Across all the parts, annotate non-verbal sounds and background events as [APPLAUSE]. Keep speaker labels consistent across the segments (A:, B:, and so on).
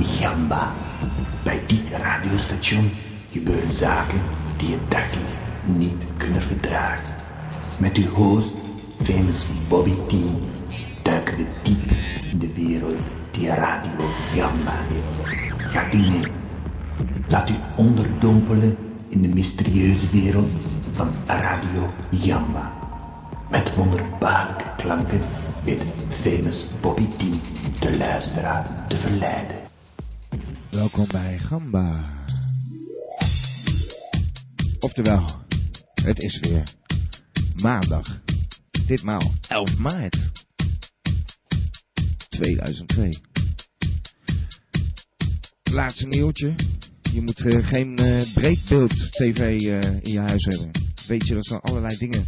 A: Samba. Bij dit radiostation gebeuren zaken die je dagelijks niet kunnen verdragen. Met uw host, famous Bobby T, duiken we diep in de wereld die Radio Gamba heeft. Gaat u mee? Laat u onderdompelen in de mysterieuze wereld van Radio Jamba. Met wonderbaarlijke klanken weet famous Bobby T de luisteraar te verleiden.
B: Welkom bij Gamba. Oftewel, het is weer maandag. Ditmaal 11 maart 2002. Laatste nieuwtje. Je moet eh, geen eh, breedbeeld tv eh, in je huis hebben. Weet je dat ze allerlei dingen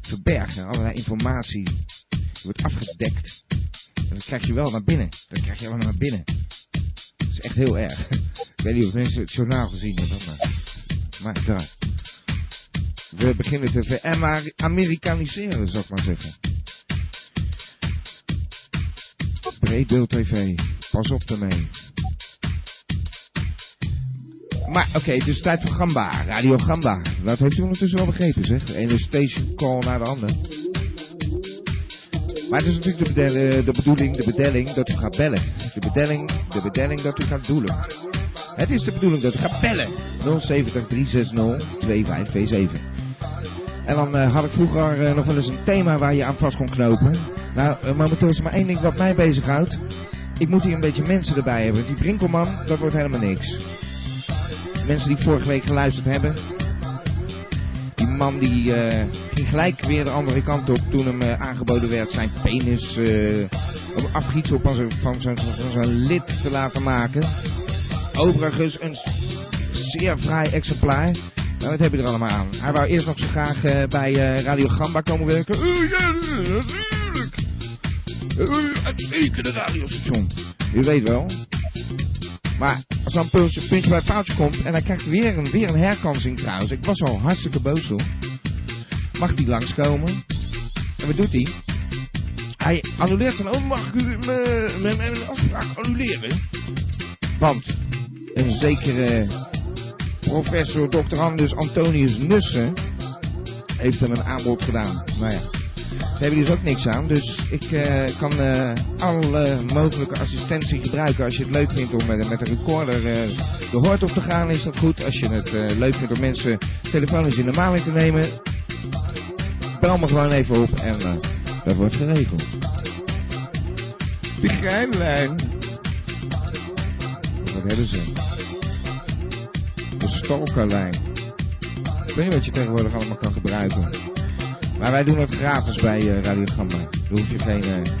B: verbergen, allerlei informatie. Die wordt afgedekt. En dat krijg je wel naar binnen. Dat krijg je allemaal naar binnen. Dat is echt heel erg. Ik weet niet of mensen het journaal gezien hebben, maar... My god. We beginnen te ver-Amerikaniseren, zou ik maar zeggen. Breedbeeld TV, pas op daarmee. Maar oké, het is tijd voor Gamba, Radio Gamba. Dat heeft u ondertussen wel begrepen, zeg. De ene station call naar de andere. Maar het is natuurlijk de, bedel- eh, de bedoeling, de bedelling dat u gaat bellen. De bedelling, de bedelling dat u gaat doelen. Het is de bedoeling dat u gaat bellen. 070 360 2527. En dan eh, had ik vroeger eh, nog wel eens een thema waar je aan vast kon knopen. Nou, eh, momenteel is er maar één ding wat mij bezighoudt. Ik moet hier een beetje mensen erbij hebben. Die Brinkelman, dat wordt helemaal niks. Mensen die vorige week geluisterd hebben. Die man die eh, ging gelijk weer de andere kant op toen hem eh, aangeboden werd zijn penis eh, om afgietsel van zijn, van, zijn, van zijn lid te laten maken. Overigens een zeer vrij exemplaar. Nou, wat heb je er allemaal aan? Hij wou eerst nog zo graag eh, bij eh, Radio Gamba komen werken. Eh, ja, natuurlijk. Eh, uitstekende radiostation. U weet wel. Maar als dan puntje, puntje bij paaltje komt en hij krijgt weer een, weer een herkansing trouwens. Ik was al hartstikke boos op. Mag die langskomen? En wat doet hij? Hij annuleert dan, oh mag ik u me- me- mijn afspraak annuleren? Want een zekere professor Dr. Anders Antonius Nussen heeft hem een aanbod gedaan. Nou ja, daar hebben dus ook niks aan. Dus ik eh, kan eh, alle mogelijke assistentie gebruiken. Als je het leuk vindt om met, met een recorder eh, de hoort op te gaan, is dat goed. Als je het eh, leuk vindt om mensen telefonisch in de maling te nemen, bel me gewoon even op en eh, dat wordt geregeld. De grijnlijn. Wat hebben ze? De stalkerlijn. Ik weet niet wat je tegenwoordig allemaal kan gebruiken. Maar wij doen het gratis bij eh, Radio Gamma. Daar hoef je geen eh,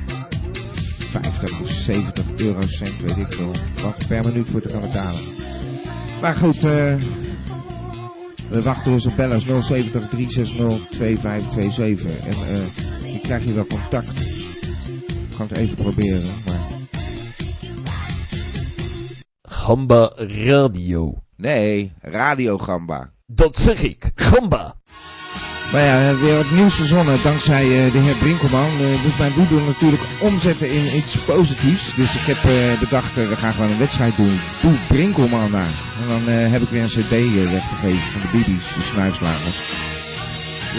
B: 50 of 70 eurocent, weet ik veel, wat per minuut voor te gaan betalen. Maar goed, eh, we wachten dus op bellers 070 360 2527. En eh, ik krijg hier wel contact. Ik kan het even proberen, maar...
C: Gamba Radio.
B: Nee, Radio Gamba.
C: Dat zeg ik, Gamba.
B: Maar ja, we hebben weer wat nieuws verzonnen dankzij eh, de heer Brinkelman. Eh, moet mijn woede natuurlijk omzetten in iets positiefs. Dus ik heb eh, bedacht, eh, we gaan gewoon een wedstrijd doen. Doe Brinkelman maar. En dan eh, heb ik weer een cd eh, weggegeven van de Bibi's, de snuifslagers.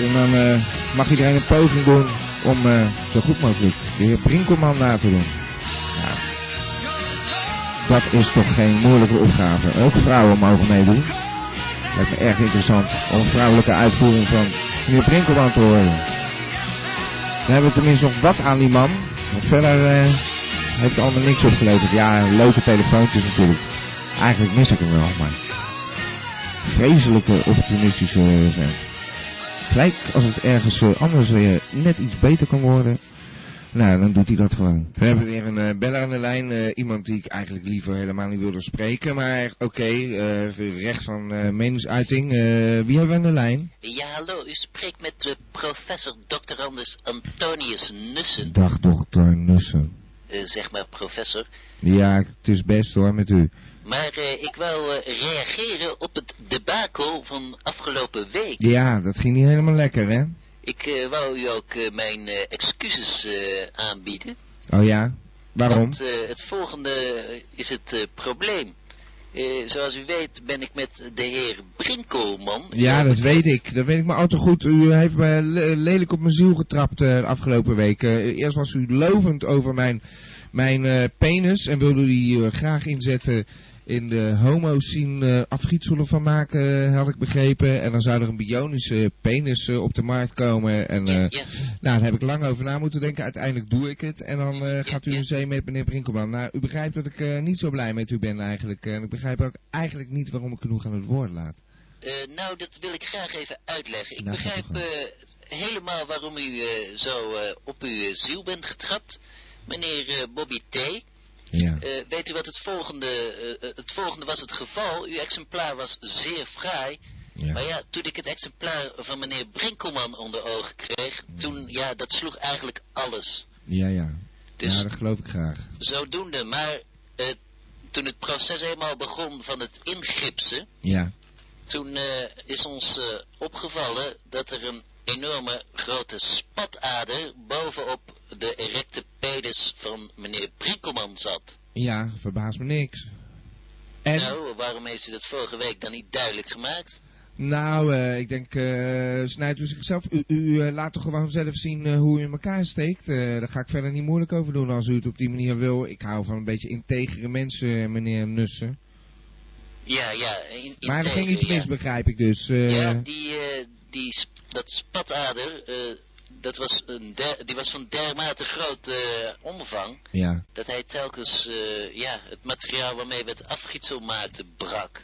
B: En dan eh, mag iedereen een poging doen om eh, zo goed mogelijk de heer Brinkelman na te doen. Nou, dat is toch geen moeilijke opgave. Ook vrouwen mogen meedoen. Lijkt me erg interessant om een vrouwelijke uitvoering van meneer Brinkelman te horen. Dan hebben we tenminste nog wat aan die man. Want verder eh, heeft het allemaal niks opgeleverd. Ja, leuke telefoontjes natuurlijk. Eigenlijk mis ik hem wel, maar... Vreselijke opportunistische eh, vent. Gelijk als het ergens eh, anders weer net iets beter kan worden. Nou, dan doet hij dat gewoon. We hebben weer een eh, beller aan de lijn. eh, iemand die ik eigenlijk liever helemaal niet wilde spreken. Maar oké, eh, voor recht van eh, meningsuiting. Eh, wie hebben we aan de lijn?
D: Ja, hallo, u spreekt met eh, professor Dr. Anders Antonius Nussen.
B: Dag dokter Nussen.
D: Eh, zeg maar, professor.
B: Ja, het is best hoor met u.
D: Maar eh, ik wou eh, reageren op het debakel van afgelopen week.
B: Ja, dat ging niet helemaal lekker hè?
D: Ik eh, wou u ook eh, mijn eh, excuses eh, aanbieden.
B: Oh ja? Waarom?
D: Want eh, het volgende is het eh, probleem. Eh, zoals u weet ben ik met de heer Brinkelman.
B: Ja, dat weet ik. Dat weet ik maar al te goed. U heeft mij le- lelijk op mijn ziel getrapt eh, de afgelopen weken. Eh, eerst was u lovend over mijn, mijn eh, penis en wilde u die eh, graag inzetten in de homo-scene eh, afgietselen van maken, eh, had ik begrepen. En dan zou er een bionische penis eh, op de markt komen. En eh,
D: Ja, ja.
B: nou, daar heb ik lang over na moeten denken. Uiteindelijk doe ik het. En dan eh, gaat u
D: ja.
B: in zee met meneer Brinkelman. Nou, u begrijpt dat ik eh, niet zo blij met u ben eigenlijk. En ik begrijp ook eigenlijk niet waarom ik genoeg aan het woord laat.
D: Eh, nou, dat wil ik graag even uitleggen. Ik
B: Nou, gaat
D: begrijp
B: uw gang.
D: eh, helemaal waarom u eh, zo eh, op uw eh, ziel bent getrapt. Meneer eh, Bobby T.
B: Ja.
D: Eh, weet u wat het volgende, eh, eh, het volgende was het geval? Uw exemplaar was zeer fraai. Maar ja, toen ik het exemplaar van meneer Brinkelman onder ogen kreeg, toen, ja, dat sloeg eigenlijk alles.
B: Ja, ja.
D: Dus
B: Ja, dat geloof ik graag.
D: zodoende, maar eh, toen het proces eenmaal begon van het ingipsen,
B: Ja.
D: toen eh, is ons eh, opgevallen dat er een enorme grote spatader bovenop de erecte penis van meneer Brinkelman zat.
B: Ja, verbaast me niks. En, nou,
D: Nou, waarom heeft u dat vorige week dan niet duidelijk gemaakt?
B: eh, ik denk, eh snijdt u zichzelf. U, u eh, laat toch gewoon zelf zien eh, hoe u in elkaar steekt. Eh, daar ga ik verder niet moeilijk over doen als u het op die manier wil. Ik hou van een beetje integere mensen, eh, meneer Nussen.
D: Ja, ja. In, in
B: Maar dat ging
D: tegen,
B: iets
D: ja.
B: mis, begrijp ik dus. eh,
D: Ja, die, eh, die, sp- dat spatader, eh, dat was een der- die was van dermate groot eh, omvang
B: ja.
D: dat hij telkens eh, ja, het materiaal waarmee we het afgietsel maakten brak.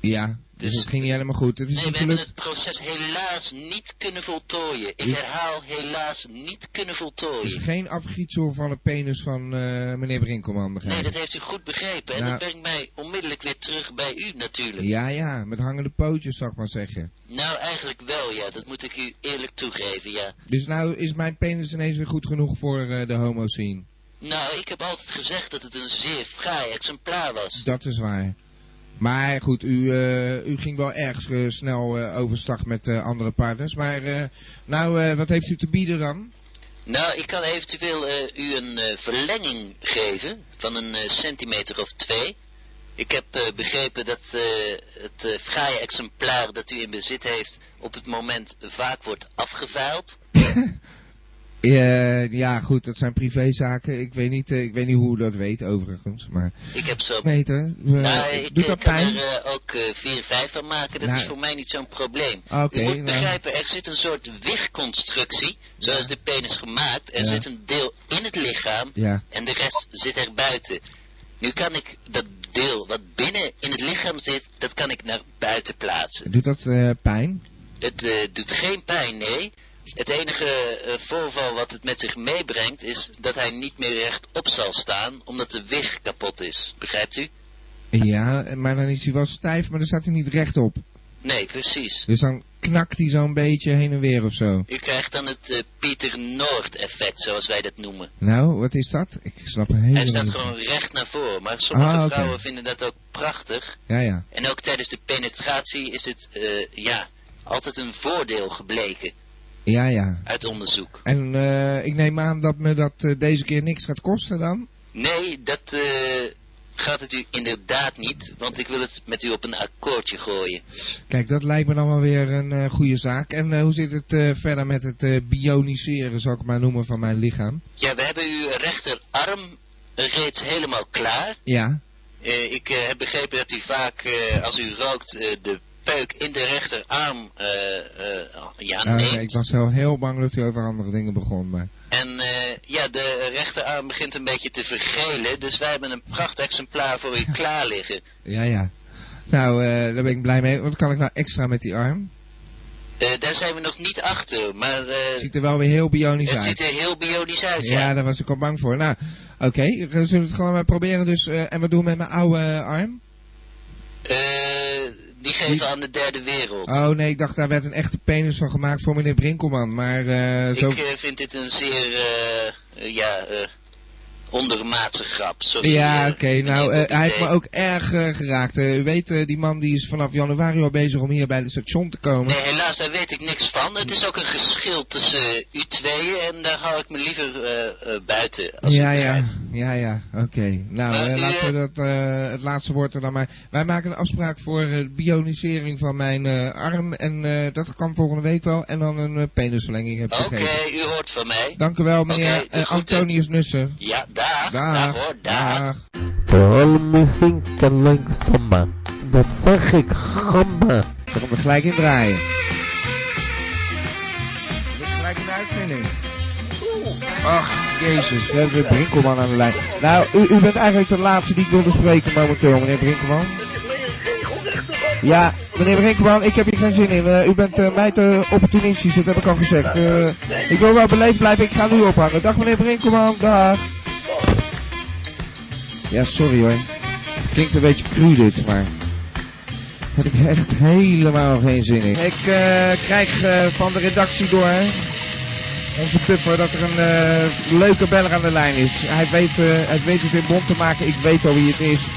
B: Ja, dus,
D: Dus-
B: het ging niet helemaal goed. Het is
D: Nee,
B: niet
D: we hebben
B: gelukt.
D: het proces helaas niet kunnen voltooien. Ik
B: Ja.
D: herhaal, helaas niet kunnen
B: Dus
D: voltooien.
B: geen afgietsel van een penis van eh, meneer Brinkelman, begrijp
D: Nee,
B: ik.
D: dat heeft u goed begrepen. En
B: Nou.
D: dat brengt mij onmiddellijk weer terug bij u natuurlijk.
B: Ja, ja, met hangende pootjes, zou ik maar zeggen.
D: Nou, eigenlijk wel, ja. Dat moet ik u eerlijk toegeven, ja.
B: Dus nou is mijn penis ineens weer goed genoeg voor eh, de homo scene.
D: Nou, ik heb altijd gezegd dat het een zeer fraai exemplaar was.
B: Dat is waar. Maar goed, u, eh, u ging wel erg eh, snel eh, overstag met eh, andere partners. Maar eh, nou, eh, wat heeft u te bieden dan?
D: Nou, ik kan eventueel eh, u een eh, verlenging geven van een eh, centimeter of twee. Ik heb eh, begrepen dat eh, het eh, fraaie exemplaar dat u in bezit heeft op het moment vaak wordt afgevuild.
B: Eh, ja, goed, dat zijn privézaken. Ik weet niet, eh, ik weet niet hoe u dat weet overigens. Maar
D: Ik heb zo...
B: Peter, eh,
D: Nou, ik
B: doet
D: eh,
B: dat
D: kan
B: pijn?
D: er eh, ook eh, vier, vijf van maken. Dat
B: Nou,
D: is voor mij niet zo'n probleem.
B: Oké,
D: u moet
B: nou.
D: begrijpen, er zit een soort wichtconstructie, zoals de penis gemaakt. Er
B: Ja.
D: zit een deel in het lichaam
B: Ja,
D: en de rest zit er buiten. Nu kan ik dat deel wat binnen in het lichaam zit, dat kan ik naar buiten plaatsen.
B: doet dat eh, pijn?
D: Het eh, doet geen pijn, nee. Het enige eh, voorval wat het met zich meebrengt is dat hij niet meer rechtop zal staan omdat de wig kapot is. Begrijpt u?
B: Ja, maar dan is hij wel stijf, maar dan staat hij niet rechtop.
D: Nee, precies.
B: Dus dan knakt hij zo'n beetje heen en weer of zo.
D: U krijgt dan het eh, Pieter Noord effect, zoals wij dat noemen.
B: Nou, wat is dat? Ik snap er helemaal
D: Hij staat
B: niet
D: gewoon
B: van.
D: recht naar voren, maar sommige
B: Ah, oké.
D: vrouwen vinden dat ook prachtig.
B: Ja, ja.
D: En ook tijdens de penetratie is dit, eh, ja, altijd een voordeel gebleken
B: Ja, ja.
D: uit onderzoek.
B: En eh, ik neem aan dat me dat eh, deze keer niks gaat kosten dan?
D: Nee, dat eh, gaat het u inderdaad niet, want ik wil het met u op een akkoordje gooien.
B: Kijk, dat lijkt me dan wel weer een eh, goede zaak. En eh, hoe zit het eh, verder met het eh, bioniseren, zal ik het maar noemen, van mijn lichaam?
D: Ja, we hebben uw rechterarm reeds helemaal klaar.
B: Ja.
D: Eh, ik eh, heb begrepen dat u vaak, eh, als u rookt, eh, de peuk in de rechterarm eh, eh, ja,
B: Eh,
D: neemt.
B: ik was heel, heel bang dat u over andere dingen begon. Maar...
D: En eh, ja, de rechterarm begint een beetje te vergelen, dus wij hebben een prachtexemplaar voor [LAUGHS] u klaar liggen.
B: Ja, ja. Nou, eh, daar ben ik blij mee. Wat kan ik nou extra met die arm?
D: Eh, daar zijn we nog niet achter, maar eh,
B: Ziet er wel weer heel bionisch
D: het
B: uit.
D: ziet er heel bionisch uit. Ja,
B: Ja, daar was ik al bang voor. Nou, oké, we zullen het gewoon maar proberen. Dus, eh, en wat doen we met mijn oude eh, arm?
D: Eh, die geven
B: Die-
D: aan de derde wereld.
B: Oh nee, ik dacht daar werd een echte penis van gemaakt voor meneer Brinkelman. Maar eh, zo.
D: Ik eh, vind dit een zeer, eh, eh, ja, eh, ondermaatse grap. Sorry,
B: Ja,
D: eh,
B: oké. nou,
D: meneer
B: eh, hij heeft me
D: Bobby
B: ook erg eh, geraakt. Eh, u weet, eh, die man die is vanaf januari al bezig om hier bij het station te
D: D.
B: komen.
D: Nee, helaas, daar weet ik niks van. Het is ook een geschil tussen eh, u tweeën en daar hou ik me liever eh, eh, buiten. Als u
B: Ja, ja,
D: begrijpt.
B: ja, ja, oké. Nou,
D: Maar
B: eh,
D: u,
B: laten we
D: eh,
B: dat, eh, het laatste woord er dan maar... Wij maken een afspraak voor eh, bionisering van mijn eh, arm en eh, dat kan volgende week wel. En dan een eh, penisverlenging heb ik
D: Oké,
B: gegeven.
D: u hoort van mij.
B: Dank u wel,
D: Oké,
B: meneer
D: de
B: eh,
D: groeten.
B: Antonius Nussen.
D: Ja, dag.
B: Dag.
D: hoor, dag.
C: Vooral misschien kan lang samba. Dat zeg ik, gamba.
B: Dan gaan we gelijk in draaien. We zitten gelijk in de uitzending. Ach, jezus, we hebben weer Brinkelman aan de lijn. Nou, u, u bent eigenlijk de laatste die ik wilde spreken momenteel, meneer Brinkelman. Ja, meneer Brinkelman, ik heb hier geen zin in. Eh, u bent eh, mij te opportunistisch, dat heb ik al gezegd. Eh, ik wil wel beleefd blijven, ik ga nu ophangen. Dag meneer Brinkelman, dag. Ja, sorry hoor. Het klinkt een beetje cru dit, maar... Heb ik echt helemaal geen zin in. Ik eh, krijg eh, van de redactie door, hè, onze puffer, dat er een eh, leuke beller aan de lijn is. Hij weet, eh, hij weet het in bond te maken, ik weet al wie het is.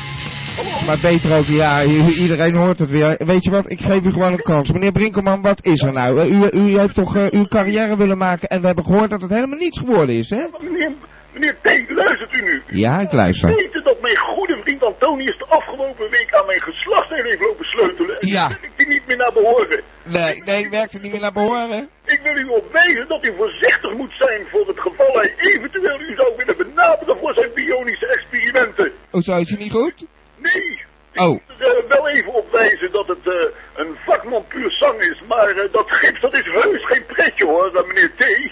B: Maar beter ook, ja, i- iedereen hoort het weer. Weet je wat, ik geef u gewoon een kans. Meneer Brinkelman, wat is er nou? Eh, U, u heeft toch eh, uw carrière willen maken en we hebben gehoord dat het helemaal niets geworden is, hè?
E: Meneer, meneer T, luistert u nu?
B: Ja, ik luister.
E: Weet u dat mijn goede vriend Antonius de afgelopen week aan mijn geslachtsdeel heeft lopen sleutelen? En
B: Ja.
E: nu wil ik die niet meer naar behoren.
B: Nee, nee, werkt het niet meer naar behoren.
E: Ik wil u op wijzen dat u voorzichtig moet zijn voor het geval hij eventueel u zou willen benaderen voor zijn bionische experimenten.
B: Oh, zo is hij niet goed?
E: Nee,
B: Oh,
E: ik wil er eh, wel even op wijzen dat het eh, een vakman puur zang is, maar eh, dat gips dat is heus geen pretje hoor, eh, meneer T.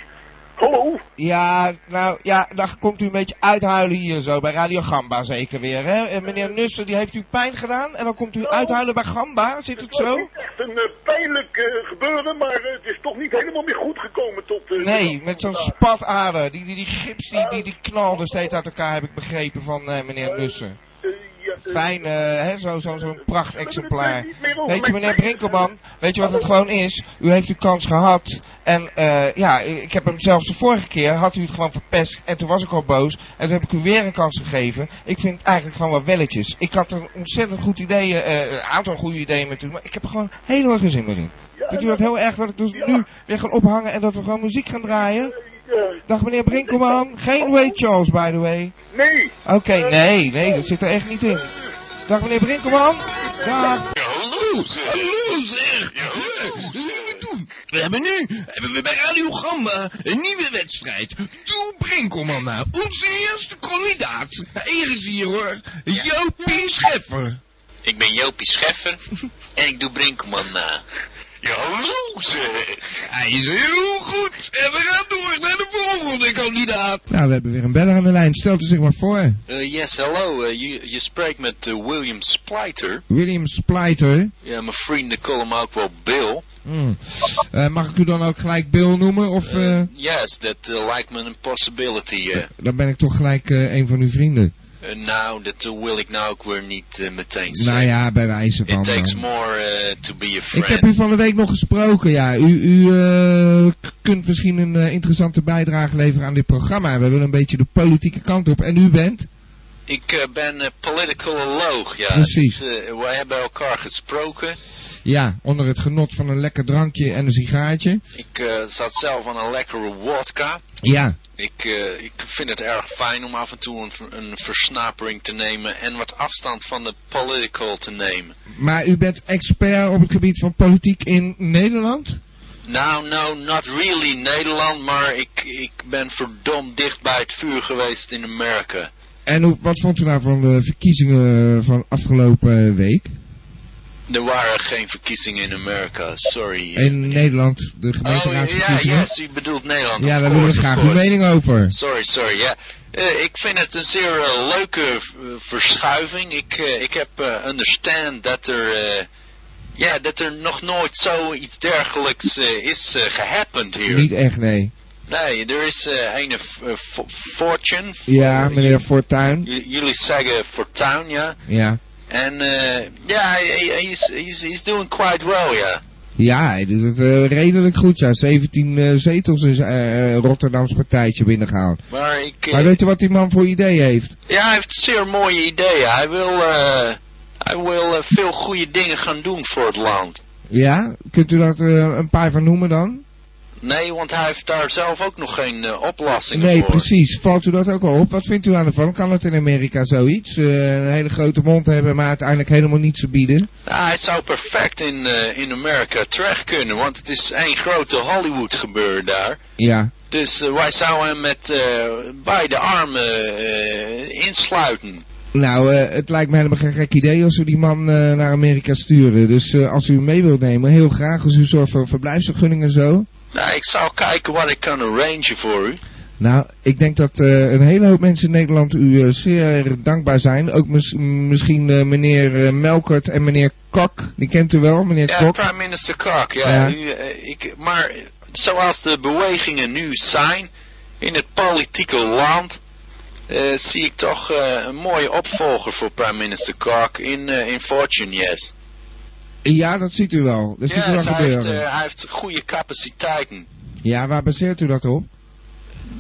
E: Hallo?
B: Ja, nou ja, dan komt u een beetje uithuilen hier zo, bij Radio Gamba zeker weer. Hè? En meneer Nussen, die heeft u pijn gedaan en dan komt u uithuilen bij Gamba, zit het
E: Het was
B: zo?
E: niet echt een eh, pijnlijk eh, gebeuren, maar eh, het is toch niet helemaal meer goed gekomen tot... eh,
B: Nee,
E: vandaag.
B: met zo'n spatader. Die, die, die gips die, die, die knalde steeds uit elkaar, heb ik begrepen van eh, meneer Nussen.
E: Eh, ja, eh,
B: Fijn, eh, hè, zo'n zo, zo'n prachtexemplaar.
E: Niet meer over
B: Weet je,
E: mijn
B: meneer
E: pijn.
B: Brinkelman, weet je wat
E: Oh.
B: het gewoon is? U heeft uw kans gehad. En eh, ja, ik heb hem zelfs de vorige keer, had u het gewoon verpest. En toen was ik al boos. En toen heb ik u weer een kans gegeven. Ik vind het eigenlijk gewoon wel welletjes. Ik had een ontzettend goed idee, eh, een aantal goede ideeën met u. Maar ik heb er gewoon heel erg geen zin meer in.
E: Ja,
B: Vindt u dat heel erg dat ik dus nu weer gaan ophangen en dat we gewoon muziek gaan draaien?
E: eh,
B: Dag meneer Brinkelman, geen Ray Charles by the way.
E: nee,
B: Oké, nee, nee, dat zit er echt niet in. Dag meneer Brinkelman. Dag.
F: Hallo, hallo zeg! Wat zullen we doen? We hebben nu, hebben we bij Radio Gamba, een nieuwe wedstrijd. Doe Brinkelman na, onze eerste kandidaat. Hij is hier hoor, Jopie Scheffer.
D: Ik ben Jopie Scheffer [LAUGHS] en ik doe Brinkelman na.
F: Ja, hallo zeg! Hij is heel goed en we gaan door naar de volgende kandidaat.
B: Nou, we hebben weer een beller aan de lijn. Stelt u zich maar voor.
G: yes, hello. Uh, je, je spreekt met eh, William Splijter.
B: William Splijter.
G: Ja, mijn vrienden callen hem ook wel Bill.
B: Hmm. Eh, mag ik u dan ook gelijk Bill noemen? Of eh,
G: Yes, that uh, lijkt me een possibility. eh.
B: dan ben ik toch gelijk eh, een van uw vrienden?
G: Eh, nou, dat eh, wil ik nou ook weer niet eh, meteen zeggen.
B: Nou ja, bij wijze van.
G: It takes
B: eh.
G: more eh, to be a
B: Ik
G: friend.
B: heb u van de week nog gesproken, ja. U, u eh, k- kunt misschien een eh, interessante bijdrage leveren aan dit programma. We willen een beetje de politieke kant op. En u bent?
G: Ik, eh, ben eh, politicoloog, ja.
B: Precies.
G: Dus, eh, wij hebben elkaar gesproken.
B: Ja, onder het genot van een lekker drankje en een sigaartje.
G: Ik eh, zat zelf aan een lekkere wodka.
B: Ja,
G: Ik, eh, ik vind het erg fijn om af en toe een, ver- een versnapering te nemen en wat afstand van de political te nemen.
B: maar u bent expert op het gebied van politiek in Nederland?
G: Nou, nou, not really Nederland, maar ik, ik ben verdomd dicht bij het vuur geweest in Amerika.
B: En hoe, wat vond u nou van de verkiezingen van afgelopen week?
G: Er waren geen verkiezingen in Amerika, sorry.
B: In Nederland, de
G: oh, ja,
B: gemeenteraadsverkiezingen?
G: yes, u bedoelt Nederland.
B: Ja,
G: of
B: daar willen we
G: course,
B: graag
G: of
B: uw
G: course.
B: mening over.
G: Sorry, sorry, ja. Eh, ik vind het een zeer eh, leuke eh, verschuiving. Ik, eh, ik heb eh understand dat er, eh, ja, dat er nog nooit zoiets dergelijks eh, is eh, gehappend hier.
B: Niet echt, nee.
G: Nee, er is eh een eh, fo- fortune.
B: Ja,
G: Eh,
B: meneer Fortuyn.
G: j- Jullie zeggen fortuin, ja.
B: Ja.
G: En eh, ja, hij hij- hij is he's, he's doing quite well, ja.
B: Ja, hij doet het eh, redelijk goed. Ja, 17 eh, zetels in zijn eh, Rotterdams partijtje binnengehaald.
G: Maar ik... eh,
B: Maar weet je wat die man voor idee heeft?
G: Ja, hij heeft zeer mooie ideeën. Hij wil, eh, hij wil eh, veel goede dingen gaan doen voor het land.
B: Ja? Kunt u daar eh, een paar van noemen dan?
G: Nee, want hij heeft daar zelf ook nog geen eh, oplossingen
B: Nee,
G: voor.
B: precies. Valt u dat ook al op? Wat vindt u aan de van? Kan het in Amerika zoiets? Eh, een hele grote mond hebben, maar uiteindelijk helemaal niets te bieden?
G: Ja, hij zou perfect in, eh, in Amerika terecht kunnen, want het is één grote Hollywood gebeuren daar.
B: Ja.
G: Dus eh, wij zouden hem met eh, beide armen eh, insluiten.
B: Nou, eh, het lijkt me helemaal geen gek idee als we die man eh, naar Amerika sturen. Dus eh, als u hem mee wilt nemen, heel graag. Als u zorgt voor een verblijfsvergunning en zo.
G: Nou, ik zou kijken wat ik kan arrangen voor u.
B: Nou, ik denk dat eh, een hele hoop mensen in Nederland u eh, zeer dankbaar zijn. Ook mis- misschien eh, meneer eh, Melkert en meneer Kok. Die kent u wel, meneer
G: Ja,
B: Kok.
G: Prime Minister Kok, ja.
B: Ja.
G: u, eh, ik, maar zoals de bewegingen nu zijn in het politieke land, eh, zie ik toch eh, een mooie opvolger voor Prime Minister Kok in, eh, in Fortune, yes.
B: Ja, dat ziet u wel. Dat ziet u wel
G: Yes, hij heeft,
B: gebeuren.
G: eh, hij heeft goede capaciteiten.
B: Ja, waar baseert u dat op?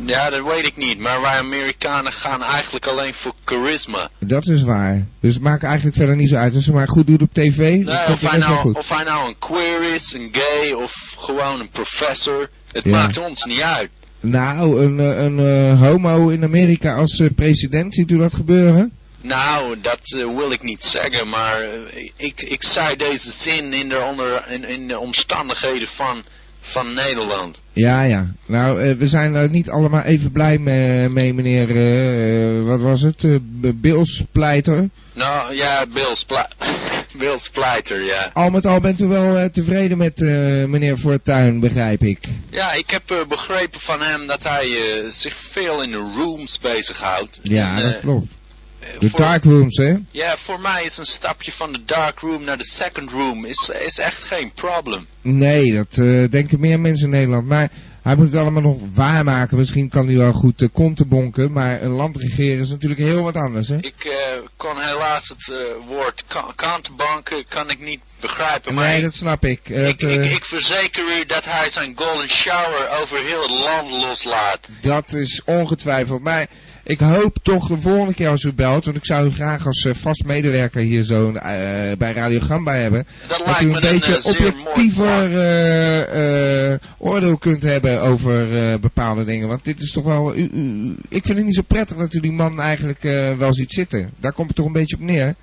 G: Ja, dat weet ik niet, maar wij Amerikanen gaan eigenlijk alleen voor charisma.
B: Dat is waar. Dus het maakt eigenlijk verder niet zo uit. Als u maar goed doet op tv, dan
G: Nee,
B: komt
G: of,
B: het
G: hij
B: best wel
G: nou,
B: goed.
G: of hij nou een queer is, een gay of gewoon een professor, het
B: Ja.
G: maakt ons niet uit.
B: Nou, een, eh, een eh, homo in Amerika als eh, president, ziet u dat gebeuren?
G: Nou, dat eh, wil ik niet zeggen, maar eh, ik, ik zei deze zin in de, onder, in, in de omstandigheden van, van Nederland.
B: Ja, ja. Nou, eh, we zijn er niet allemaal even blij mee, mee meneer, eh, eh, wat was het, eh, B- Bills Pleiter.
G: Nou ja, Bill, Spla [LAUGHS] Bill Splijter, ja.
B: Al met al bent u wel eh, tevreden met eh, meneer Fortuyn, begrijp ik.
G: Ja, ik heb eh, begrepen van hem dat hij eh, zich veel in de rooms bezighoudt.
B: Ja,
G: En,
B: dat
G: eh,
B: klopt.
G: eh,
B: De
G: voor-
B: darkrooms, hè?
G: Ja, voor mij is een stapje van de dark room naar de second room is, is echt geen probleem.
B: Nee, dat eh, denken meer mensen in Nederland. Maar hij moet het allemaal nog waarmaken. Misschien kan hij wel goed de konten bonken, maar een land regeren is natuurlijk heel wat anders, hè?
G: Ik eh, kon helaas het eh, woord ka- kantenbanken kan ik niet begrijpen, maar
B: Nee,
G: ik-
B: dat snap ik. Eh,
G: Ik,
B: dat,
G: ik,
B: eh,
G: ik verzeker u dat hij zijn golden shower over heel het land loslaat.
B: Dat is ongetwijfeld. Maar ik hoop toch de volgende keer als u belt, want ik zou u graag als eh, vast medewerker hier zo eh, bij Radio Gamba hebben,
G: Dat
B: dat
G: lijkt
B: u
G: me
B: een beetje
G: eh, zeer mooi
B: objectiever
G: plan.
B: eh, eh, oordeel kunt hebben over eh, bepaalde dingen. Want dit is toch wel. u- u- ik vind het niet zo prettig dat u die man eigenlijk eh, wel ziet zitten. Daar komt het toch een beetje op neer.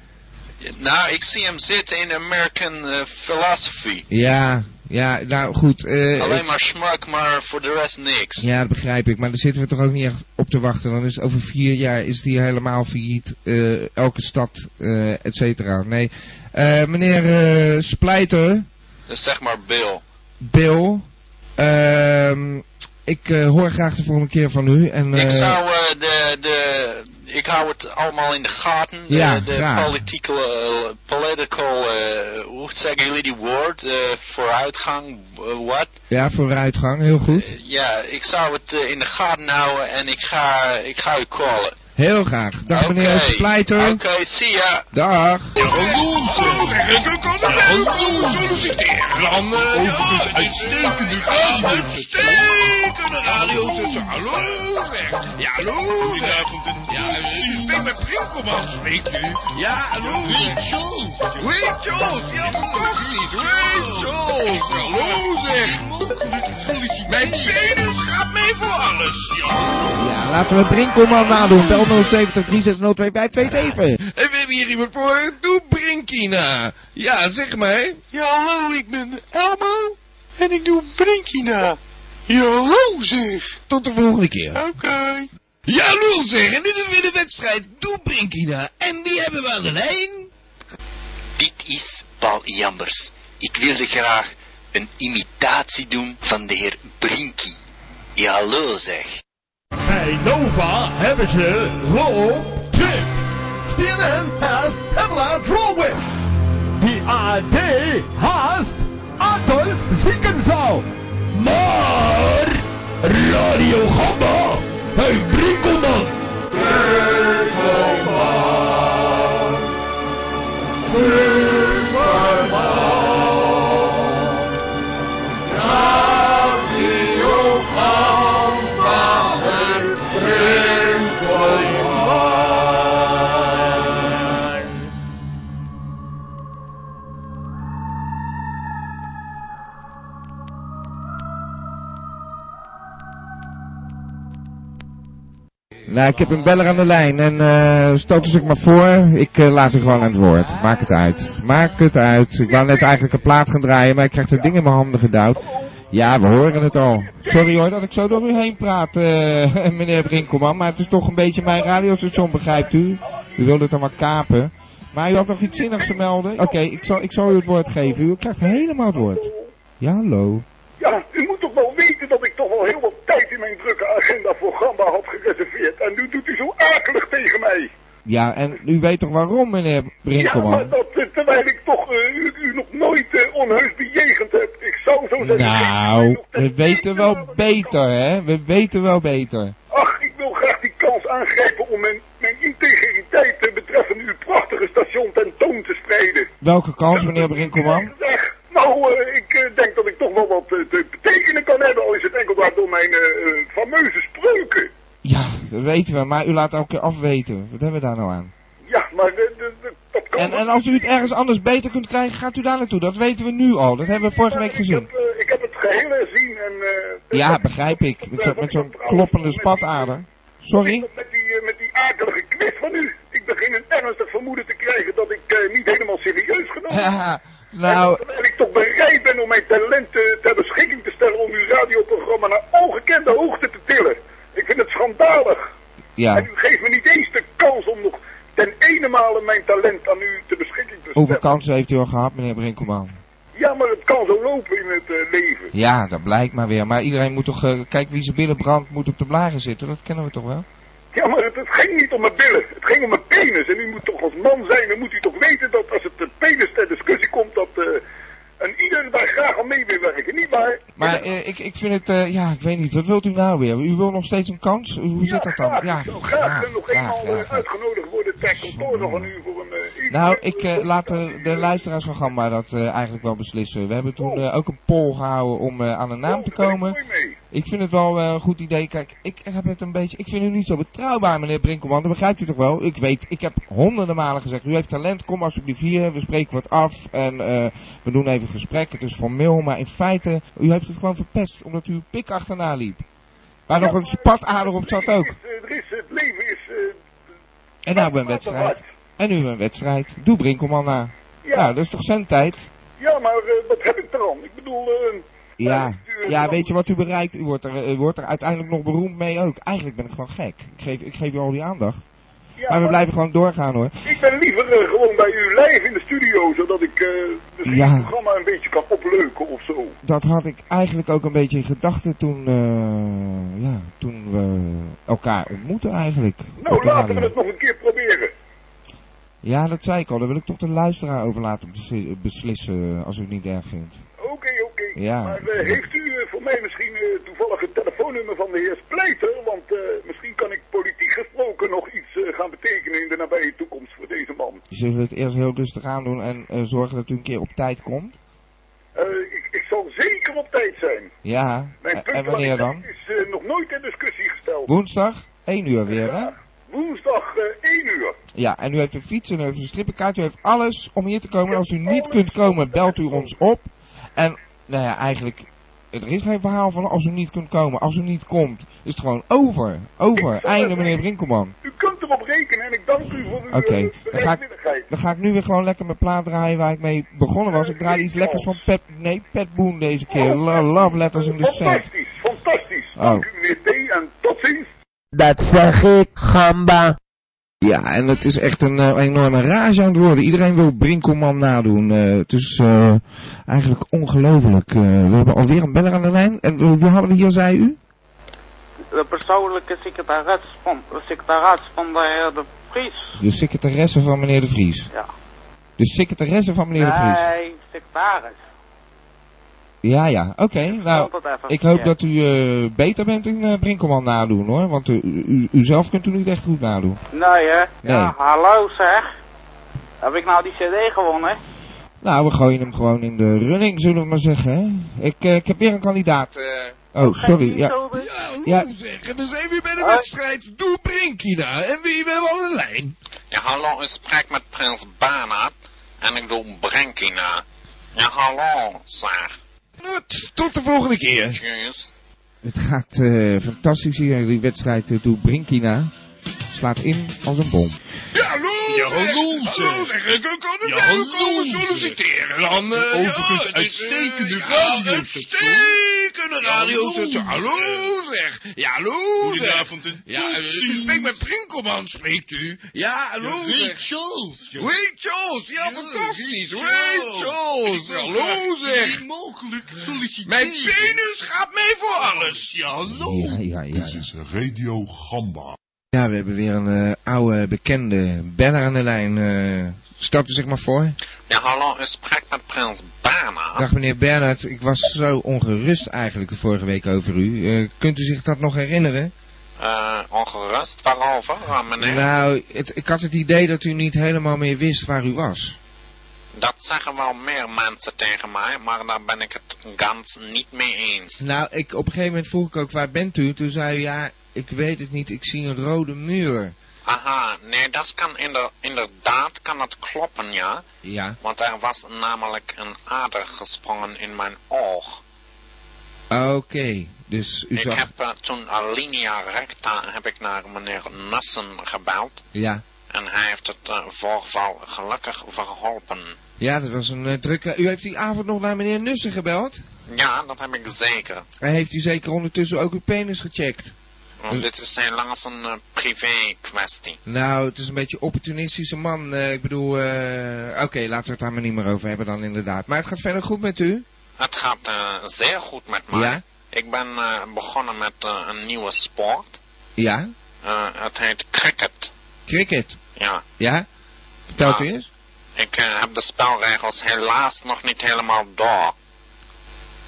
G: Nou, ik zie hem zitten in American eh, philosophy.
B: Ja, ja, nou goed. eh,
G: Alleen maar smak, maar voor de rest niks.
B: Ja, dat begrijp ik. Maar daar zitten we toch ook niet echt op te wachten. Dan is over vier jaar is die helemaal failliet. eh, elke stad, eh et cetera. Nee. Eh, meneer eh, Splijter,
G: Dus zeg maar Bill.
B: Bill. ehm, ik eh, hoor graag de volgende keer van u. En, eh,
G: ik zou eh, de, de... Ik hou het allemaal in de gaten. De-
B: Ja,
G: de
B: graag.
G: politieke... eh, political... eh, hoe zeggen jullie die woord? Eh, vooruitgang? eh, wat?
B: Ja, vooruitgang. Heel goed.
G: Eh, ja, ik zou het eh, in de gaten houden en ik ga, ik ga u callen.
B: Heel graag. Dag
G: Oké.
B: meneer Splijter.
G: Oké, zie ya.
B: Dag.
F: Dan overigens uitstekende radio. Uitstekende radio. zussen. Hallo zeg. Ja, hallo. Goedenavond. Ja, u bent met Prinkelman, spreekt u. Ja, hallo. Wade Jones. Wade Jones. Ja, fantastisch. Wade Jones. Hallo zeg. Mijn penis gaat mee voor alles. Ja.
B: Ja, laten we Brinkelman nadoen. Bel 070 360 2527.
F: En we hebben hier iemand voor. Doe Brinkina. Ja, zeg maar.
H: Ja, hallo, ik ben Elmo en ik doe Brinkina. Ja, hallo zeg.
B: Tot de volgende keer.
H: Oké.
F: Ja, lul zeg. En nu de winnen wedstrijd. Doe Brinkina. En wie hebben we aan de lijn?
I: Dit is Paul Jambers. Ik wilde graag een imitatie doen van de heer Brinkie. Ja, hallo zeg.
J: Bij Nova hebben ze Rob Trip. CNN has Pamela Drolwich. Die AD haast Adolf Ziekenzal. Maar Radio Gamba, hey Brinkelman. Brinkelman. Superman.
B: Nou, ik heb een beller aan de lijn en eh stoot zich maar voor. Ik eh, laat u gewoon aan het woord. Maak het uit. Maak het uit. Ik wou net eigenlijk een plaat gaan draaien, maar ik krijg zo'n ding in mijn handen gedouwd. Ja, we horen het al. Sorry hoor dat ik zo door u heen praat, eh, [LAUGHS] meneer Brinkelman, maar het is toch een beetje mijn radiostation, begrijpt u? U wilt het dan maar kapen. Maar u had nog iets zinnigs te melden? Oké, ik, zal, ik zal u het woord geven. U krijgt helemaal het woord. Ja, hallo.
E: Ja, u moet toch wel weten dat ik toch wel heel wat tijd in mijn drukke agenda voor Gamba had gereserveerd. En nu doet u zo akelig tegen mij.
B: Ja, en u weet toch waarom, meneer
E: Ja,
B: Brinkelman?
E: maar dat, eh, terwijl ik toch eh, u, u nog nooit eh, onheus bejegend heb. Ik zou zo zeggen,
B: Nou,
E: [LAUGHS]
B: we weten wel beter, hè? We weten wel beter.
E: ach, ik wil graag die kans aangrijpen om mijn, mijn integriteit eh, betreffende uw prachtige station tentoon te spreiden.
B: Welke kans, meneer Brinkelman?
E: Zeg, nou, eh, ik eh, denk dat ik toch wel wat eh, te betekenen kan hebben, al is het enkel maar door mijn eh, eh, fameuze spreuken.
B: Ja, dat weten we, maar u laat elke keer afweten. Wat hebben we daar nou aan?
E: Ja, maar de, de, de, dat kan
B: En, en als u het ergens anders beter kunt krijgen, gaat u daar naartoe. Dat weten we nu al. Dat hebben we vorige week gezien.
E: Eh, ik heb het geheel herzien en eh,
B: Ja, begrijp ik. Met zo'n met zo'n kloppende spatader. Sorry? [LAUGHS]
E: met, die, eh, met die akelige quiz van u. Ik begin een ernstig vermoeden te krijgen dat ik eh, niet helemaal serieus genomen
B: ben. Nou,
E: Terwijl ik toch bereid ben om mijn talenten ter beschikking te stellen om uw radioprogramma naar ongekende hoogte te tillen. Ik vind het schandalig.
B: ja.
E: En u geeft me niet eens de kans om nog ten ene male mijn talent aan u te beschikking te
B: Hoeveel
E: stellen.
B: kansen heeft u al gehad, meneer Brinkelman?
E: Ja, maar het kan zo lopen in het eh, leven.
B: Ja, dat blijkt maar weer. Maar iedereen moet toch... eh, kijk, wie zijn billen brandt, moet op de blaren zitten. Dat kennen we toch wel?
E: Ja, maar het, het ging niet om mijn billen. Het ging om mijn penis. En u moet toch als man zijn, dan moet u toch weten dat als het de penis ter discussie komt, dat eh, een ieder daar graag aan mee wil werken. Niet waar?
B: Maar eh, ik, ik vind het, eh, ja, ik weet niet, wat wilt u nou weer? U wil nog steeds een kans? Hoe zit dat dan? Ja,
E: Ik wil graag eh, nog eenmaal eh,
B: graag.
E: uitgenodigd worden ter kantoor nog een uur voor een... eh, uur.
B: Nou, ik eh, laat de, de luisteraars van Gamma dat eh, eigenlijk wel beslissen. We hebben
E: Oh.
B: toen eh, ook een poll gehouden om eh, aan een naam te komen. Ik vind het wel eh, een goed idee. Kijk, ik heb het een beetje. Ik vind u niet zo betrouwbaar, meneer Brinkelman. Dat begrijpt u toch wel? Ik weet, ik heb honderden malen gezegd. U heeft talent, kom alsjeblieft hier. We spreken wat af en eh, we doen even een gesprek. Het is formeel, maar in feite, u heeft het gewoon verpest omdat u uw pik achterna liep. Waar nog een spatader op zat ook.
E: Eh, er is, het leven is... eh,
B: En nou een wedstrijd. En nu een wedstrijd. Doe Brinkelman na.
E: Ja.
B: Nou, dat is toch zijn tijd?
E: ja, maar eh, wat heb ik er aan? Ik bedoel, eh,
B: Ja. ja, weet je wat u bereikt? U wordt, er, eh, u wordt er uiteindelijk nog beroemd mee ook. Eigenlijk ben ik gewoon gek. Ik geef, ik geef u al die aandacht.
E: Ja,
B: maar we
E: maar-
B: blijven gewoon doorgaan hoor.
E: ik ben liever eh, gewoon bij u live in de studio, zodat ik eh, misschien
B: Ja.
E: het programma een beetje kan opleuken of zo. Nou,
B: Dat had ik eigenlijk ook een beetje in gedachten toen, eh, ja, toen we elkaar ontmoetten eigenlijk. op
E: Nou,
B: de
E: laten we
B: radio.
E: het nog een keer proberen.
B: Ja, dat zei ik al. Daar wil ik toch de luisteraar over laten besli- beslissen als u het niet erg vindt.
E: Oké, oké.
B: Ja.
E: Maar eh, heeft u eh, voor mij misschien eh, toevallig het telefoonnummer van de heer Spleiter? Want eh, misschien kan ik politiek gesproken nog iets eh, gaan betekenen in de nabije toekomst voor deze man.
B: Zullen we het eerst heel rustig aandoen en eh, zorgen dat u een keer op tijd komt?
E: Eh, ik, ik zal zeker op tijd zijn.
B: Ja.
E: Mijn
B: En- en wanneer
E: puntkwaliteit
B: dan?
E: is eh, nog nooit in discussie gesteld.
B: Woensdag, 1 uur weer, hè?
E: Woensdag eh 1 uur.
B: Ja, en u heeft een fiets en u heeft een strippenkaart, u heeft alles om hier te komen. En Als u niet kunt komen, belt u ons op. En, nou ja, eigenlijk, er is geen verhaal van als u niet kunt komen. Als u niet komt, is het gewoon over. Over. Einde, meneer Brinkelman.
E: U kunt erop rekenen en ik dank u voor uw eh,
B: Oké, dan, ga ik- dan ga ik nu weer gewoon lekker mijn plaat draaien waar ik mee begonnen was. Ik draai iets lekkers van Pet, nee, Pet Boon deze keer. Lo- Love Letters in the Sand.
E: Fantastisch, fantastisch.
B: Oh.
E: Dank u meneer T en tot ziens.
C: Dat zeg ik, gamba.
B: Ja, en het is echt een eh, enorme rage aan het worden. Iedereen wil Brinkelman nadoen. eh, het is eh, eigenlijk ongelooflijk. Eh, we hebben alweer een beller aan de lijn. En eh, wie hadden we hier, zei u?
K: De persoonlijke secretaris van, secretaris van de heer De Vries.
B: De secretaresse van meneer De Vries.
K: Ja.
B: De secretaresse van meneer De Vries.
K: Nee, secretaris.
B: Ja, ja, oké. Nou,
K: vond het even
B: ik hoop
K: verkeerd.
B: dat u eh, beter bent in eh, Brinkelman nadoen hoor. Want eh, u, u, u zelf kunt u niet echt goed nadoen.
K: Nee, hè?
B: Nee.
K: Ja, hallo zeg. Heb ik nou die cd gewonnen?
B: Nou, we gooien hem gewoon in de running, zullen we maar zeggen. Hè? Ik, eh, ik heb weer een kandidaat. eh. oh, sorry. Ja. Ja.
F: Ja, hoe zeggen, we zijn weer bij de wedstrijd. Doe Brinkina en wie wil aan de lijn?
I: Ja, hallo, ik spreek met prins Bernhard en ik doe Brenkina. Ja, hallo, zeg.
F: Knut, tot de volgende keer.
I: Tjus.
B: Het gaat eh, fantastisch hier, die wedstrijd eh, toe Brinkina. slaat in als een bom.
F: Ja, hallo! Ja, hallo! Hallo, zeg, ik kan er wel komen solliciteren. Dan, eh,
H: Overigens
F: ja,
H: uitstekende
F: eh,
H: radio,
F: Uitstekende
H: Ja,
F: radio.
H: hallo,
F: station. Hallo, zeg. Ja, hallo,
H: Goedenavond,
F: zeg.
H: een
F: Ja, eh,
H: taxi.
F: u spreekt met Prinkelman, spreekt u. Ja, hallo,
H: Ja, Ray
F: zeg. Charles. Ray Charles, ja, fantastisch. Ray Charles, hallo, zeg. mogelijk solliciteren. Mijn penis gaat mee voor alles. Ja, hallo.
B: Ja, ja, ja. ja.
L: is Radio Gamba.
B: Ja, we hebben weer een eh, oude bekende beller aan de lijn. eh stapt u zich maar voor.
M: Ja, hallo, u spreekt met prins Bernhard.
B: Dag meneer Bernhard, ik was zo ongerust eigenlijk de vorige week over u. Eh, kunt u zich dat nog herinneren?
M: Eh, ongerust waarover, eh, meneer?
B: Nou, het, ik had het idee dat u niet helemaal meer wist waar u was.
M: Dat zeggen wel meer mensen tegen mij, maar daar ben ik het gans niet mee eens.
B: Nou, ik, op een gegeven moment vroeg ik ook waar bent u? Toen zei u ja, ik weet het niet, ik zie een rode muur.
M: Aha, nee, dat kan inder- inderdaad kan dat kloppen, ja.
B: Ja.
M: Want er was namelijk een ader gesprongen in mijn oog.
B: Oké, dus u
M: ik
B: zag...
M: heb eh, toen Alinea Recta heb ik naar meneer Nussen gebeld.
B: Ja.
M: En hij heeft het eh, voorval gelukkig verholpen.
B: ja, dat was een eh, drukke... U heeft die avond nog naar meneer Nussen gebeld?
M: Ja, dat heb ik zeker.
B: En heeft u zeker ondertussen ook uw penis gecheckt?
M: Want dit is helaas een eh, privé kwestie.
B: Nou, het is een beetje een opportunistische man. eh, ik bedoel, eh, oké, laten we het daar maar niet meer over hebben dan inderdaad. Maar het gaat verder goed met u?
M: Het gaat eh, zeer goed met mij.
B: Ja?
M: Ik ben eh, begonnen met eh, een nieuwe sport.
B: Ja?
M: Eh, het heet cricket.
B: Cricket?
M: Ja.
B: Ja? Vertelt u
M: Ja.
B: eens?
M: Ik eh, heb de spelregels helaas nog niet helemaal door.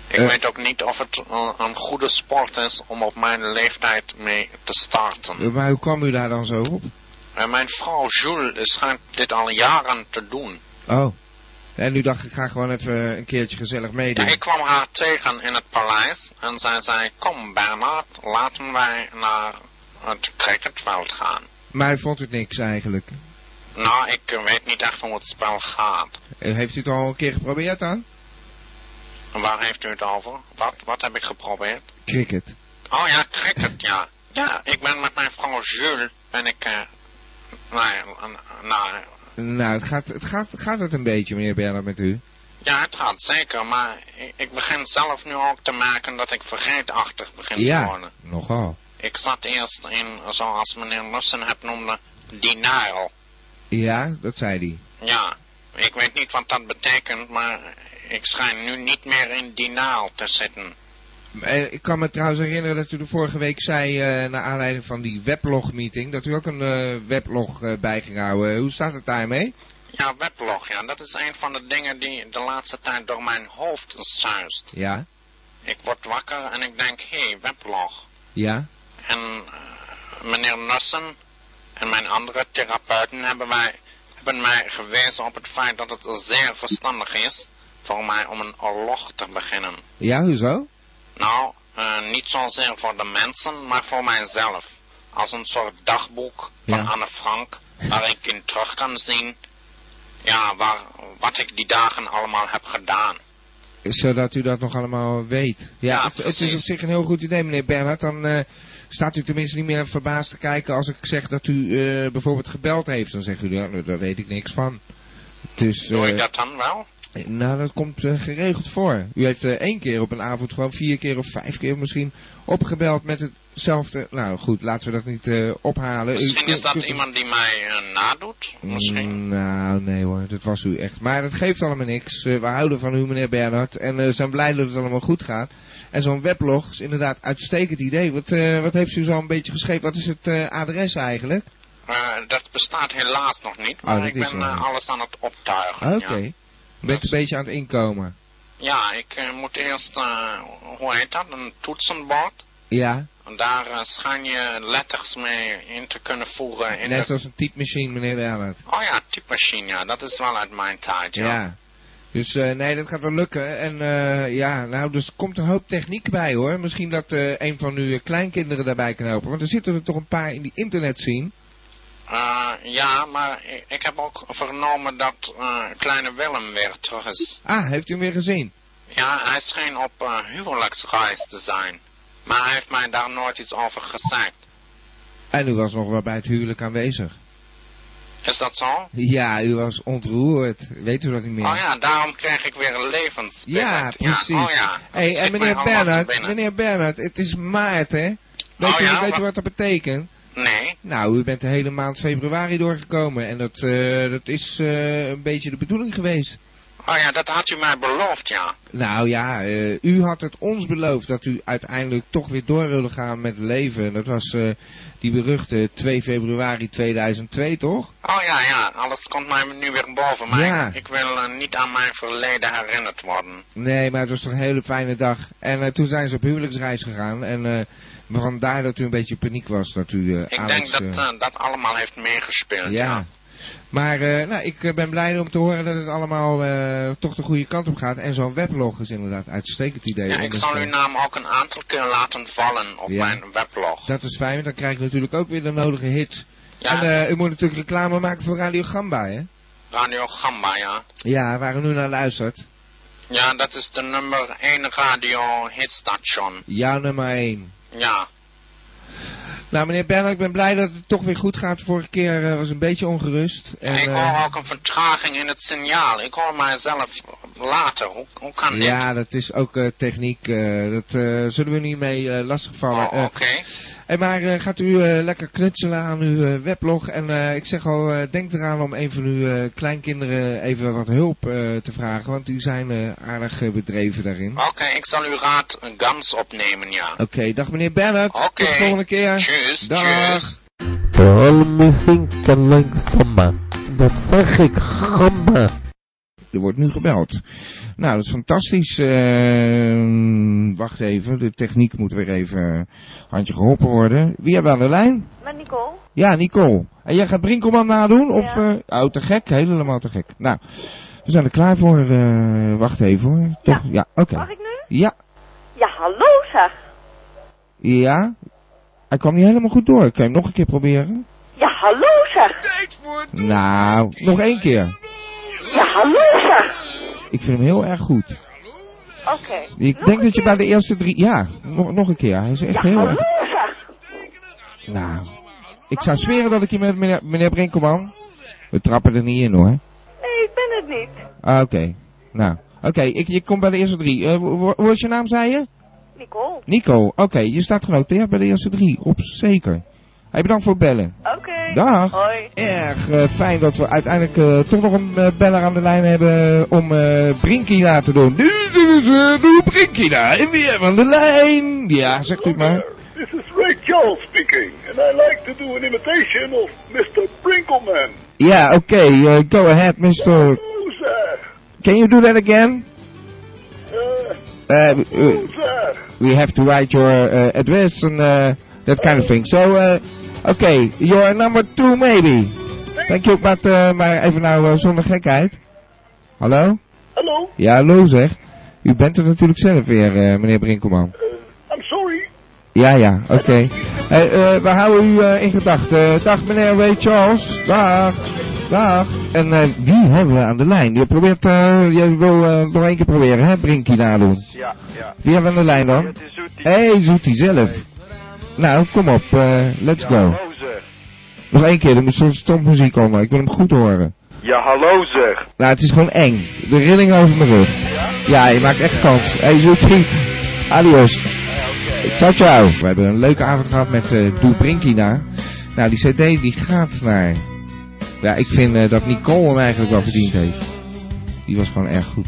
M: Ik
B: Eh.
M: weet ook niet of het eh, een goede sport is om op mijn leeftijd mee te starten.
B: Eh, Maar hoe kwam u daar dan zo op?
M: En mijn vrouw Jules schijnt dit al jaren te doen.
B: Oh. En nu dacht ik, ga gewoon even een keertje gezellig meedoen.
M: Ik kwam haar tegen in het paleis en zij zei, kom Bernard, laten wij naar het cricketveld gaan.
B: Maar hij vond het niks eigenlijk.
M: Nou, ik eh, weet niet echt hoe het spel gaat.
B: Eh, Heeft u het al een keer geprobeerd dan?
M: Waar heeft u het over? Wat, wat heb ik geprobeerd?
B: Cricket.
M: Oh ja, cricket, ja. Ja, ik ben met mijn vrouw Jules en ik... eh nou, ja, eh, nou,
B: Nou, het gaat, het gaat, gaat het een beetje, meneer Bernhard, met u?
M: ja, het gaat zeker, maar ik, ik begin zelf nu ook te merken dat ik vergeetachtig begin te
B: ja,
M: worden.
B: nogal.
M: Ik zat eerst in, zoals meneer Lussen het noemde, denial.
B: Ja, dat zei hij.
M: Ja, ik weet niet wat dat betekent, maar ik schijn nu niet meer in denial te zitten.
B: Eh, Ik kan me trouwens herinneren dat u de vorige week zei, eh, naar aanleiding van die weblog-meeting, dat u ook een eh, weblog eh, bij ging houden. Hoe staat het daarmee?
M: Ja, weblog, ja, dat is een van de dingen die de laatste tijd door mijn hoofd zuist.
B: Ja,
M: Ik word wakker en ik denk, hé, hey, weblog.
B: ja.
M: En eh, meneer Nussen en mijn andere therapeuten hebben, wij, hebben mij gewezen op het feit dat het zeer verstandig is voor mij om een oorlog te beginnen.
B: Ja, hoezo?
M: Nou, eh, niet zozeer voor de mensen, maar voor mijzelf. Als een soort dagboek van
B: Ja.
M: Anne Frank, waar ik in terug kan zien ja, waar, wat ik die dagen allemaal heb gedaan.
B: Zodat u dat nog allemaal weet. Ja, het, het is op zich een heel goed idee, meneer Bernhard. Dan eh, staat u tenminste niet meer verbaasd te kijken als ik zeg dat u eh, bijvoorbeeld gebeld heeft. Dan zegt u, "Ja, nou, daar weet ik niks van. Dus,
M: Doe ik
B: eh,
M: dat dan wel?
B: Nou, dat komt eh, geregeld voor. U heeft eh, één keer op een avond gewoon vier keer of vijf keer misschien opgebeld met hetzelfde... Nou goed, laten we dat niet eh, ophalen. U
M: Misschien
B: kunt-
M: is dat
B: kunt-
M: iemand die mij eh, nadoet.
B: Mm, Nou, nee hoor, dat was u echt. Maar dat geeft allemaal niks. Eh, we houden van u, meneer Bernhard. En eh, zijn blij dat het allemaal goed gaat. En zo'n weblog is inderdaad een uitstekend idee. Wat, eh, wat heeft u zo een beetje geschreven? Wat is het eh, adres eigenlijk?
M: Eh, dat bestaat helaas nog niet, maar
B: Ah, dat
M: ik
B: is
M: ben
B: wel-
M: eh, alles aan het optuigen.
B: Oké.
M: Ja.
B: U Bent een beetje aan het inkomen.
M: Ja, ik eh, moet eerst, eh, hoe heet dat, een toetsenbord.
B: Ja,
M: En daar eh, schijn je letters mee in te kunnen voeren. In
B: net
M: de-
B: zoals een typemachine, meneer Bernhard.
M: Oh ja, typemachine, ja, dat is wel uit mijn tijd, ja.
B: Ja. Dus eh, nee, dat gaat wel lukken. En eh, ja, nou, dus komt een hoop techniek bij hoor. Misschien dat eh, een van uw kleinkinderen daarbij kan helpen. Want er zitten er toch een paar in die internet zien.
M: Eh, ja, maar ik, ik heb ook vernomen dat eh, kleine Willem weer terug is.
B: Ah, heeft u hem weer gezien?
M: Ja, hij scheen op eh, huwelijksreis te zijn. Maar hij heeft mij daar nooit iets over gezegd.
B: En u was nog wel bij het huwelijk aanwezig.
M: Is dat zo?
B: Ja, u was ontroerd. Weet u dat niet meer?
M: Oh ja, daarom krijg ik weer een levensbillet.
B: Ja, precies.
M: oh ja. dat
B: hey,
M: schiet
B: en
M: mij
B: meneer
M: allemaal te
B: Bernhard,
M: binnen.
B: meneer Bernhard, het is maart, hè? Weet,
M: Oh
B: u,
M: ja,
B: weet u
M: wat-
B: wat dat betekent?
M: Nee.
B: Nou, u bent de hele maand februari doorgekomen en dat, eh, dat is eh, een beetje de bedoeling geweest.
M: Oh ja, dat had u mij beloofd, ja.
B: Nou ja, eh, u had het ons beloofd dat u uiteindelijk toch weer door wilde gaan met het leven. En dat was eh, die beruchte 2 februari 2002, toch?
M: Oh ja, ja, alles komt mij nu weer boven. Maar
B: Ja.
M: ik, ik wil eh, niet aan mijn verleden herinnerd worden.
B: Nee, maar het was toch een hele fijne dag. En eh, toen zijn ze op huwelijksreis gegaan. En eh, vandaar dat u een beetje in paniek was dat u eh,
M: Ik
B: Alex...
M: denk dat
B: eh,
M: eh, dat allemaal heeft meegespeeld.
B: ja. Maar eh, nou, ik eh, ben blij om te horen dat het allemaal eh, toch de goede kant op gaat. En zo'n weblog is inderdaad een uitstekend idee.
M: Ja, ik
B: Anders,
M: zal
B: eh,
M: uw naam ook een aantal keer laten vallen op
B: Ja.
M: mijn weblog.
B: Dat is fijn, want dan krijg je natuurlijk ook weer de nodige hits.
M: Ja.
B: En eh, u moet natuurlijk reclame maken voor Radio Gamba, hè?
M: Radio Gamba, ja.
B: Ja, waar u nu naar luistert.
M: Ja, dat is de nummer 1 radio hitstation.
B: Jouw nummer 1.
M: Ja.
B: Nou, meneer Bernhard, ik ben blij dat het toch weer goed gaat. Vorige keer eh, was ik een beetje ongerust. En,
M: ik
B: eh,
M: hoor ook een vertraging in het signaal. Ik hoor mijzelf later. Hoe, hoe kan dit?
B: ja, dat is ook eh, techniek. eh, dat eh, zullen we niet mee eh, lastigvallen.
M: Oh,
B: Eh,
M: Oké.
B: En maar eh, gaat u eh, lekker knutselen aan uw eh, weblog. En eh, ik zeg al, eh, denk eraan om een van uw eh, kleinkinderen even wat hulp eh, te vragen. Want u zijn eh, aardig eh, bedreven daarin.
M: Oké, ik zal uw raad eh, gans opnemen, ja.
B: Oké, dag meneer Bernhard.
M: Oké.
B: Tot de volgende keer.
M: Tjus,
B: Dag.
M: tjus.
C: Vooral muziek en langzamer. Dat zeg ik gamba.
B: Er wordt nu gebeld. Nou, dat is fantastisch. Ehm, wacht even, de techniek moet weer even handje geholpen worden. Wie hebben we aan de lijn?
N: Met Nicole?
B: Ja, Nicole. En jij gaat Brinkelman nadoen? Of, eh oh, te gek. Helemaal te gek. Nou, we zijn er klaar voor. eh, wacht even hoor. Toch? Ja, oké.
N: Mag ik nu?
B: Ja,
N: Ja, hallo zeg.
B: ja. Hij kwam niet helemaal goed door. Kan je hem nog een keer proberen?
N: Ja, hallo zeg.
B: Nou, nog één keer.
N: Ja, hallo zeg.
B: Ik vind hem heel erg goed.
N: Oké.
B: Ik
N: Nog
B: denk
N: een
B: dat je bij de eerste drie... Ja, nog, nog een keer. Hij is
N: keer.
B: echt
N: Ja,
B: heel
N: hallo
B: erg...
N: zeg.
B: Nou, ik zou zweren dat ik hier met meneer, meneer Brinkelman... We trappen er niet in hoor.
N: Nee, ik ben het niet.
B: Ah, oké. Nou, oké, ik je komt bij de eerste drie. Eh, wa- wa- Wat is je naam, zei je?
N: Nicole.
B: Nico, oké, je staat genoteerd bij de eerste drie. Op zeker. Hey, bedankt voor het bellen.
N: Oké.
B: Dag.
N: Hoi.
B: Erg eh, fijn dat we uiteindelijk eh, toch nog een eh, beller aan de lijn hebben om eh Brinky na te doen. Dit is eh, de Brinky na. En wie hebben we aan de lijn? Ja, zegt u het maar.
E: This is Ray Charles speaking, and I like to do an imitation of Mr. Brinkleman.
B: Ja, oké, eh, go ahead, Mr.
E: Who's that?
B: Can you do that again?
E: Uh,
B: Uh, uh,
E: who's that?
B: we have to write your uh, address and uh, that kind of thing. So, uh, okay, you're number two maybe. Thank you, but, uh, maar even nou eh, zonder gekheid. Hallo?
E: Hallo?
B: Ja, hallo zeg. U bent er natuurlijk zelf weer, eh, meneer Brinkelman.
E: I'm sorry.
B: Ja, ja, oké. Hey, eh, we houden u eh, in gedachten. Dag meneer W. Charles. Dag. Dag. En eh, wie hebben we aan de lijn? Je probeert, eh, je wil eh, nog één keer proberen, hè, Brinkie nadoen.
O: Ja, ja.
B: Wie hebben we aan de lijn dan? Hé, hey, Zoetie zelf. Nou, kom op, eh, let's
O: ja,
B: go.
O: Hallo zeg.
B: Nog één keer, er moet zo'n stompmuziek komen, ik wil hem goed horen.
O: Ja, hallo zeg.
B: Nou, het is gewoon eng. De rilling over mijn rug. Ja, je maakt echt kans. Hé, hey, Zoetie. Adios. Ciao, ciao. We hebben een leuke avond gehad met eh Doe Brinkina. Nou, die cd die gaat naar... Ja, ik vind eh, dat Nicole hem eigenlijk wel verdiend heeft. Die was gewoon erg goed.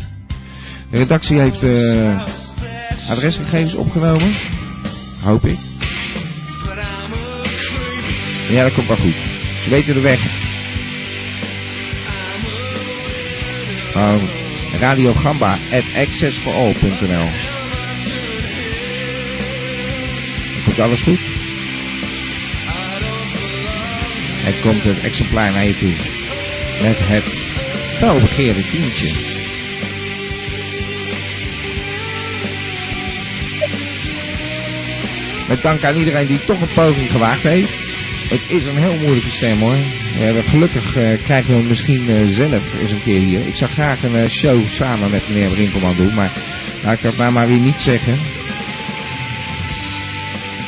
B: De redactie heeft eh, adresgegevens opgenomen. Hoop ik. Ja, dat komt wel goed. Ze weten de weg. Oh, Radio Gamba at accessforall.nl Komt alles goed? Er komt een exemplaar naar je toe. Met het felbegeerde tientje. Met dank aan iedereen die toch een poging gewaagd heeft. Het is een heel moeilijke stem hoor. We hebben- gelukkig eh, krijgen we hem misschien eh, zelf eens een keer hier. Ik zou graag een eh, show samen met meneer Brinkelman doen, maar laat ik dat nou maar weer niet zeggen.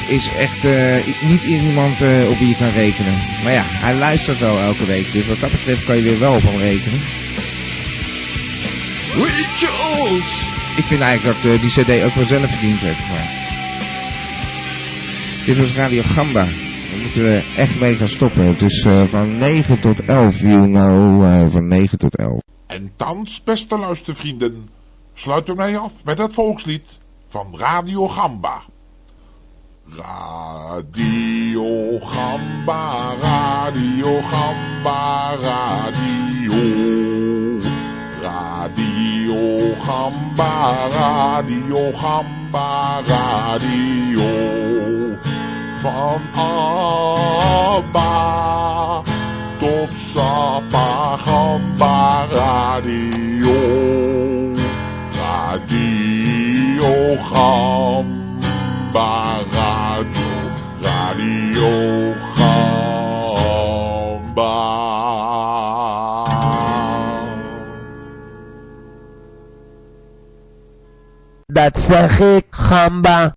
B: is echt eh, niet iemand eh, op wie je kan rekenen. Maar ja, hij luistert wel elke week. Dus wat dat betreft kan je weer wel op hem rekenen. Ik vind eigenlijk dat eh, die cd ook wel zelf verdiend heeft. Maar... Dit was Radio Gamba. We moeten er echt mee gaan stoppen. Het is eh, van 9 tot 11, you know. eh, van 9 tot 11.
L: En thans, beste luistervrienden, sluiten wij af met het volkslied van Radio Gamba. Radio Gamba, Radio Gamba, Radio. Radio Gamba, Radio Gamba, Radio. Van Abba tot Sapa Gamba, Radio. Radio Gamba. Baradio, Radio Gamba.
C: Dat zeg ik, gamba.